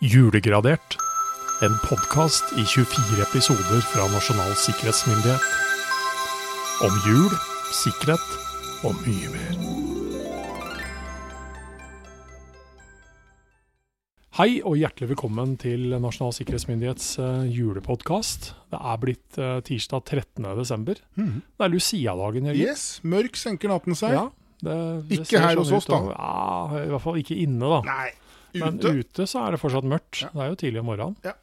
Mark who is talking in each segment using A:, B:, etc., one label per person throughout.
A: Julegradert. En podkast i 24 episoder fra Nasjonal sikkerhetsmyndighet. Om jul, sikkerhet og mye mer. Hei og hjertelig velkommen til Nasjonal sikkerhetsmyndighets eh, julepodkast. Det er blitt eh, tirsdag 13. desember.
B: Mhm.
A: Det er Lucia-dagen, Jørgen.
B: Yes, mørk senker natten seg.
A: Ja, det, det
B: Ikke
A: ser
B: her
A: sånn
B: hos
A: ut,
B: oss, da.
A: og- Ja, I hvert fall ikke inne, da.
B: Nei,
A: Men
B: ute.
A: ute så er det fortsatt mørkt.
B: Ja.
A: Det er jo tidlig om morgenen.
B: Ja.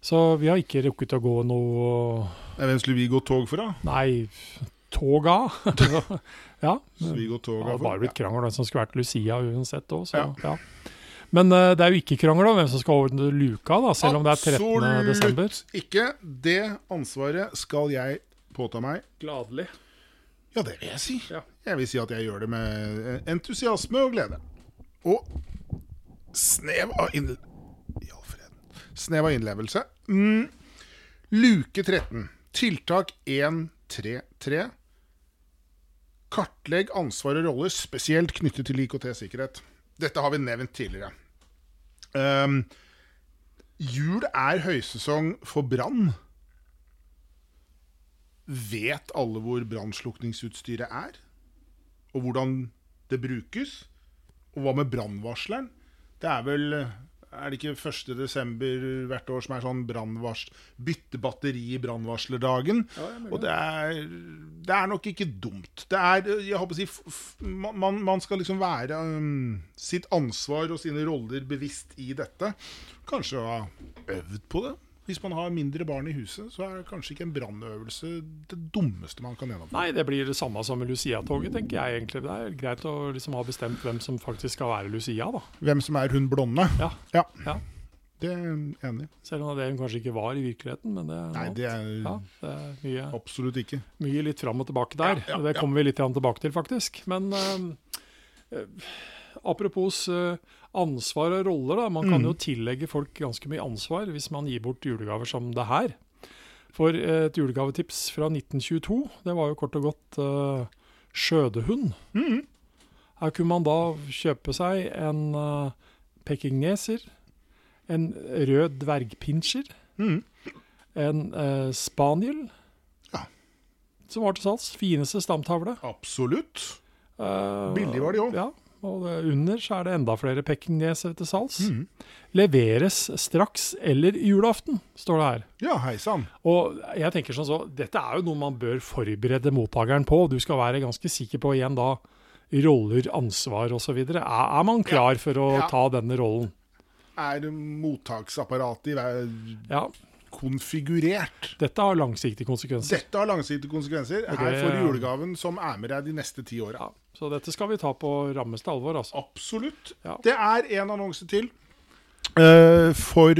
A: Så vi har ikke rukket å gå noe
B: Nei, Hvem skulle vi gå tog for, da?
A: Nei, toga. ja.
B: Skulle vi gå tog
A: Det
B: av
A: har
B: for?
A: bare blitt krangel om hvem som skulle vært Lucia uansett òg, så ja.
B: Ja.
A: Men eh, det er jo ikke krangel om hvem som skal ordne luka, da, selv om det er 13. desember.
B: Absolutt ikke. Det ansvaret skal jeg påta meg.
A: Gladelig.
B: Ja, det vil jeg si.
A: Ja.
B: Jeg vil si at jeg gjør det med entusiasme og glede. Og snev av innle... I all fred. Snev av innlevelse. Mm. Luke 13. Tiltak 133. Kartlegg ansvar og roller, spesielt knyttet til IKT-sikkerhet. Dette har vi nevnt tidligere. Ehm, jul er høysesong for brann. Vet alle hvor brannslukningsutstyret er? Og hvordan det brukes? Og hva med brannvarsleren? Det er vel Er det ikke 1. desember hvert år som er sånn brannvars... Bytte batteri i brannvarslerdagen? og det er, det er nok ikke dumt. Det er Jeg håper å si f- f- man- man, man skal liksom være øhm, sitt ansvar og sine roller bevisst i dette. Kanskje ha øvd på det. Hvis man har mindre barn i huset, så er kanskje ikke en brannøvelse det dummeste man kan gjennomføre.
A: Nei, det blir det samme som med Lucia-toget, tenker jeg egentlig. Det er greit å liksom ha bestemt hvem som faktisk skal være Lucia, da.
B: Hvem som er hun blonde?
A: Ja.
B: Ja.
A: Ja.
B: Det er jeg enig. i.
A: Selv om det er det hun kanskje ikke var i virkeligheten, men det er,
B: Nei,
A: noe
B: det
A: annet.
B: er
A: ja, det er mye,
B: absolutt ikke.
A: mye litt fram og tilbake der.
B: Ja, ja,
A: og det
B: ja.
A: kommer vi litt grann tilbake til, faktisk. Men eh, eh, apropos eh, ansvar og roller, da. Man kan
B: Mm.
A: jo tillegge folk ganske mye ansvar hvis man gir bort julegaver som det her. For eh, et julegavetips fra 1922, det var jo kort og godt eh, skjødehund.
B: Mhm.
A: Her kunne man da kjøpe seg en eh, pekingneser, en rød dvergpinsjer,
B: Mhm.
A: en eh, spaniel,
B: Ja.
A: som var til salgs. Fineste stamtavle.
B: Absolutt.
A: Eh,
B: Billig var de òg.
A: Ja, og det- under så er det enda flere pekingneser til salgs.
B: Mhm.
A: Leveres straks eller julaften, står det her.
B: Ja, hei sann.
A: Og jeg tenker sånn så, dette er jo noe man bør forberede mottakeren på. Du skal være ganske sikker på igjen da roller, ansvar osv. Er, er man klar for å
B: Ja.
A: ta denne rollen?
B: Er mottaksapparatet i vei-
A: Ja.
B: konfigurert?
A: Dette har langsiktige konsekvenser.
B: Dette har langsiktige konsekvenser. Her
A: det-
B: får du julegaven som er med deg de neste ti åra.
A: Ja, så dette skal vi ta på rammeste alvor, altså.
B: Absolutt.
A: Ja.
B: Det er en annonse til. eh, for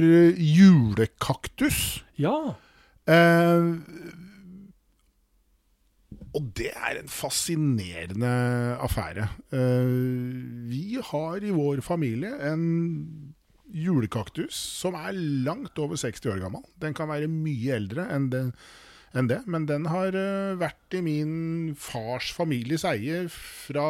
B: julekaktus.
A: Ja.
B: Eh, og det er en fascinerende affære. Eh, vi har i vår familie en julekaktus som er langt over 60 år gammel. Den kan være mye eldre enn det, enn det men den har eh, vært i min fars families eie fra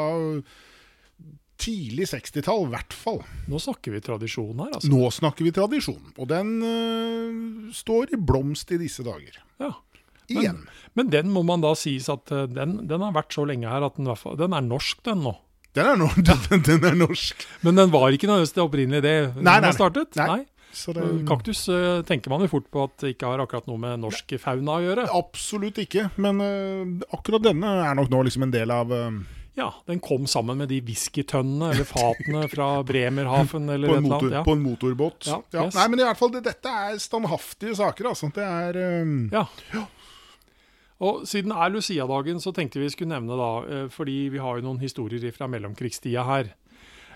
B: tidlig 60-tall, i hvert fall.
A: Nå snakker vi tradisjon her, altså.
B: Nå snakker vi tradisjon, og den eh, står i blomst i disse dager.
A: Ja.
B: Igjen.
A: Men den må man da sies at eh, den, den har vært så lenge her at den, i hvert fall- den er norsk, den nå.
B: Den er, nor- den, den er norsk.
A: Men den var ikke nødvendigvis det opprinnelige det den
B: Nei, nei, nei.
A: startet.
B: Nei.
A: nei.
B: Så det,
A: Eh, Kaktus eh, tenker man jo fort på at det ikke har akkurat noe med norsk fauna å gjøre.
B: absolutt ikke. Men øh, akkurat denne er nok nå liksom en del av øh,
A: Ja, Den kom sammen med de whiskytønnene eller fatene fra Bremerhaven eller
B: på,
A: et
B: en
A: eller
B: motor,
A: annet. Ja.
B: på en motorbåt.
A: Ja, yes.
B: Nei, men i hvert fall, det, dette er standhaftige saker. Altså. Det er øh,
A: Ja. Og siden det er Lucia-dagen, så tenkte vi skulle nevne da, eh, fordi vi har jo noen historier fra mellomkrigstida her.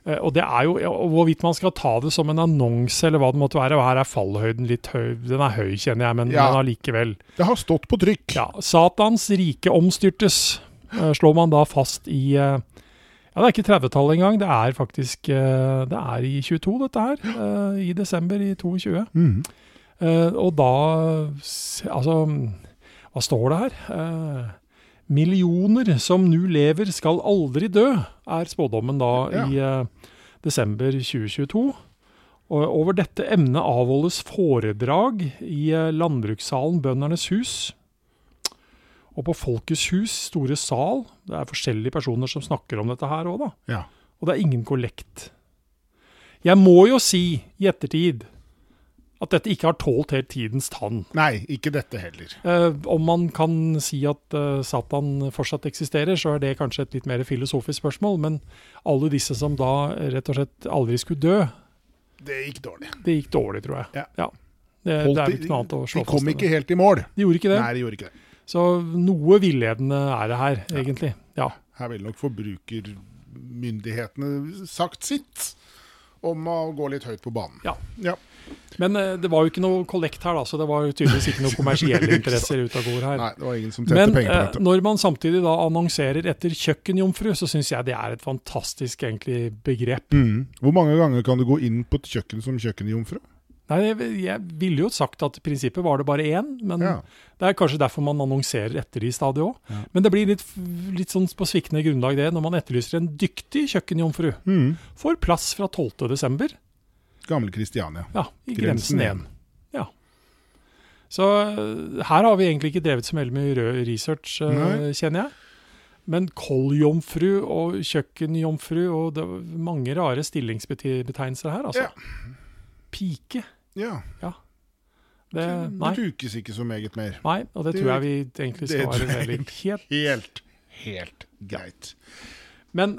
A: Eh, Og det er jo, og hvorvidt man skal ta det som en annonse eller hva det måtte være, og her er fallhøyden litt høy, den er høy kjenner jeg, men,
B: Ja.
A: men allikevel.
B: Det har stått på trykk.
A: Ja, Satans rike omstyrtes, eh, slår man da fast i eh, Ja, det er ikke 30-tallet engang, det er faktisk eh, Det er i 22, dette her. eh, I desember i 22.
B: Mhm.
A: Eh, og da s- Altså, hva står det her? Eh, millioner som nu lever skal aldri dø, er spådommen da i eh, desember 2022. Og Og over dette emnet avholdes foredrag i eh, landbrukssalen Bøndernes hus. Og på Folkets hus, store sal. Det er forskjellige personer som snakker om dette her òg, da.
B: Ja.
A: Og det er ingen kollekt. Jeg må jo si, i ettertid, at dette ikke har tålt helt tidens tann.
B: Nei, ikke dette heller.
A: Eh, om man kan si at eh, Satan fortsatt eksisterer, så er det kanskje et litt mer filosofisk spørsmål. Men alle disse som da eh, rett og slett aldri skulle dø,
B: Det gikk dårlig.
A: det gikk dårlig, tror jeg.
B: Ja.
A: Det, det er
B: Holdt
A: vel ikke noe annet å
B: i-
A: slå
B: de kom
A: enn
B: ikke helt i mål.
A: det. De gjorde ikke det.
B: Nei, de gjorde ikke det.
A: Så noe villedende er det her, egentlig. Ja.
B: Her ville nok forbrukermyndighetene sagt sitt om å gå litt høyt på banen.
A: Ja.
B: Ja.
A: Men eh, det var jo ikke noe kollekt her, da, så det var jo tydeligvis ikke noen kommersielle interesser ute av går her.
B: Nei, det var ingen som tjente
A: Men
B: penger på
A: eh,
B: dette.
A: når man samtidig da annonserer etter kjøkkenjomfru, så syns jeg det er et fantastisk egentlig begrep.
B: Mm. Hvor mange ganger kan du gå inn på et kjøkken som kjøkkenjomfru?
A: Nei, jeg, jeg ville jo sagt at i prinsippet var det bare én, men
B: Ja.
A: det er kanskje derfor man annonserer etter de stadig òg.
B: Ja.
A: Men det blir litt, litt sånn på sviktende grunnlag det, når man etterlyser en dyktig kjøkkenjomfru.
B: Mm.
A: Får plass fra 12. desember,
B: Gamle Kristiania.
A: ja, i
B: Grensen
A: Grensen 1. Ja. Så eh, her har vi egentlig ikke drevet så veldig mye rød research, eh,
B: Nei.
A: kjenner jeg. Men kolljomfru og kjøkkenjomfru og det var mange rare stillingsbetegnelser her, altså.
B: Ja.
A: Pike.
B: Ja.
A: Det,
B: Det
A: Eh, nei.
B: brukes ikke så meget mer.
A: Nei, og det
B: Det-
A: tror jeg vi egentlig skal
B: det tror
A: være
B: jeg
A: veldig helt
B: Helt, helt greit.
A: Men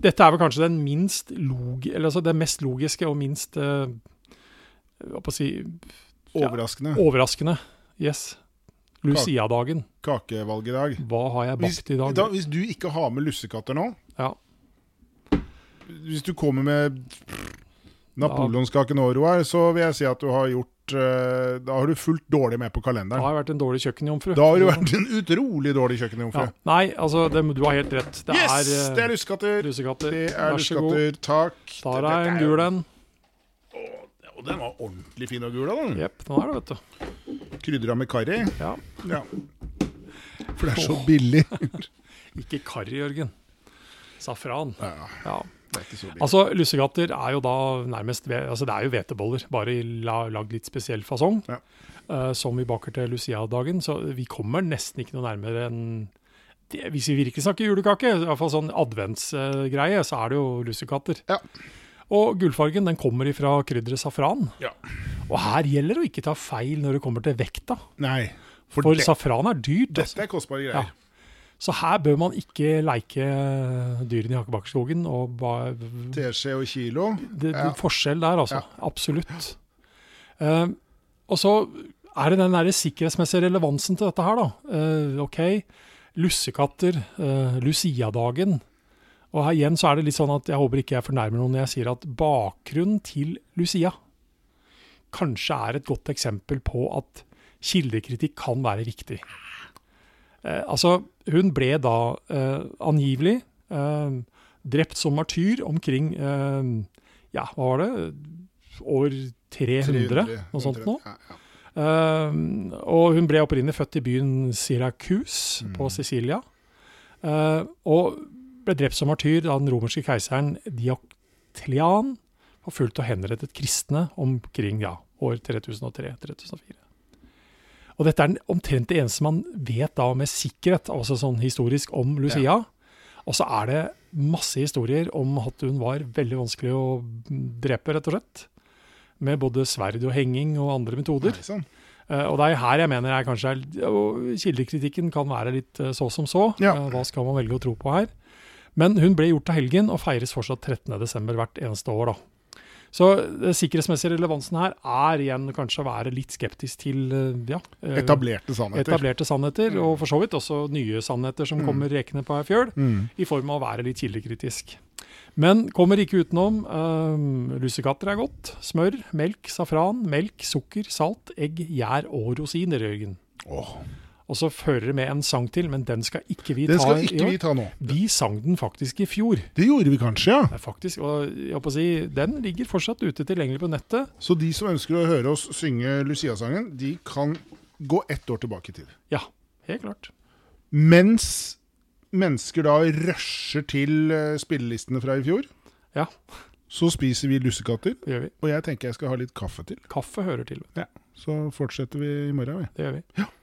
A: dette er vel kanskje den minst log, eller altså det mest logiske og minst eh, hva på å si, Ja.
B: Overraskende.
A: overraskende. Yes. Lucia-dagen.
B: Kakevalg i dag.
A: Hva har jeg
B: Hvis,
A: bakt i dag?
B: da, hvis du ikke har med lussekatter nå
A: Ja.
B: Hvis du kommer med napoleonskaken og oro her, så vil jeg si at du har gjort eh, Da har du fulgt dårlig med på
A: Da
B: kalenderen.
A: har jeg vært en dårlig kjøkkenjomfru.
B: Da har du vært en utrolig dårlig kjøkkenjomfru.
A: ja. Nei, altså, det, du har helt rett. Det
B: yes!
A: er, eh,
B: det er lussekatter!
A: lussekatter.
B: Det er
A: Vær så god.
B: lussekatter. Takk.
A: Ta
B: Dette
A: deg en
B: er-
A: gul en.
B: Og den var ordentlig fin og gul, da. den.
A: Jepp, den er det, vet du.
B: Krydra med karri.
A: Ja.
B: Ja. For det er så billig.
A: Ikke karri, Jørgen. Safran.
B: Ja,
A: Ja.
B: det er ikke så billig.
A: Altså, Lussegatter er jo da nærmest ve- altså Det er jo hveteboller, bare i la, lagd litt spesiell fasong.
B: Ja.
A: eh, som vi baker til Lucia-dagen. Så vi kommer nesten ikke noe nærmere enn det, Hvis vi virkelig snakker julekake, i hvert fall sånn adventsgreie, så er det jo lussekatter.
B: Ja.
A: Og gullfargen den kommer ifra krydderet safran.
B: Ja.
A: Og her gjelder det å ikke ta feil når det kommer til vekta,
B: Nei. For,
A: for
B: det,
A: safran er dyrt. Altså.
B: dette er kostbare greier.
A: Så her bør man ikke leike dyrene i Hakkebakkeskogen og ba,
B: Teskje og kilo.
A: det, det
B: Ja.
A: er forskjell der, altså. Absolutt. Eh, og så er det den der sikkerhetsmessige relevansen til dette her, da. Eh, ok, lussekatter, uh, Lucia-dagen. Og her igjen så er det litt sånn at jeg håper ikke jeg fornærmer noen når jeg sier at bakgrunnen til Lucia kanskje er et godt eksempel på at kildekritikk kan være riktig. Eh, altså, hun ble da eh, angivelig eh, drept som martyr omkring eh, ja, hva var det? År 300, noe sånt nå.
B: Ja, ja.
A: Eh, og hun ble opprinnelig født i byen Syracuse på Sicilia. eh, og ble drept som martyr av den romerske keiseren Dioclian, forfulgt og henrettet kristne omkring ja, år 3003-3004. Og dette er den- omtrent det eneste man vet da med sikkerhet, altså sånn historisk, om Lucia. Og så er det masse historier om at hun var veldig vanskelig å drepe, rett og slett. Med både sverd og henging og andre metoder.
B: Nei, sånn.
A: Eh, og det er her jeg mener jeg kanskje er, og Kildekritikken kan være litt eh, så som så.
B: Ja.
A: Eh, hva skal man velge å tro på her? Men hun ble gjort til helgen og feires fortsatt 13.12. hvert eneste år. da. Så den sikkerhetsmessige relevansen her er igjen kanskje å være litt skeptisk til eh, ja, eh,
B: Etablerte sannheter.
A: etablerte sannheter, og for så vidt også nye sannheter som kommer rekende på ei fjøl,
B: Mm.
A: i form av å være litt kildekritisk. Men kommer ikke utenom. eh, lussekatter er godt. Smør, melk, safran, melk, sukker, salt, egg, gjær og rosiner, Jørgen.
B: Åh,
A: Og så fører det med en sang til, men den skal ikke vi ta
B: Den skal
A: i
B: ikke
A: år.
B: vi ta nå.
A: Vi sang den faktisk i fjor.
B: Det gjorde vi kanskje, ja.
A: Det er faktisk, og jeg håper å si, Den ligger fortsatt ute tilgjengelig på nettet.
B: Så de som ønsker å høre oss synge Lucia-sangen, de kan gå ett år tilbake i tid.
A: Ja, helt klart.
B: Mens mennesker da rusher til eh, spillelistene fra i fjor,
A: Ja.
B: Så spiser vi lussekatter,
A: Det gjør vi.
B: og jeg tenker jeg skal ha litt kaffe til.
A: Kaffe hører til.
B: Så fortsetter vi i morgen. Vi.
A: Det gjør vi.
B: Ja.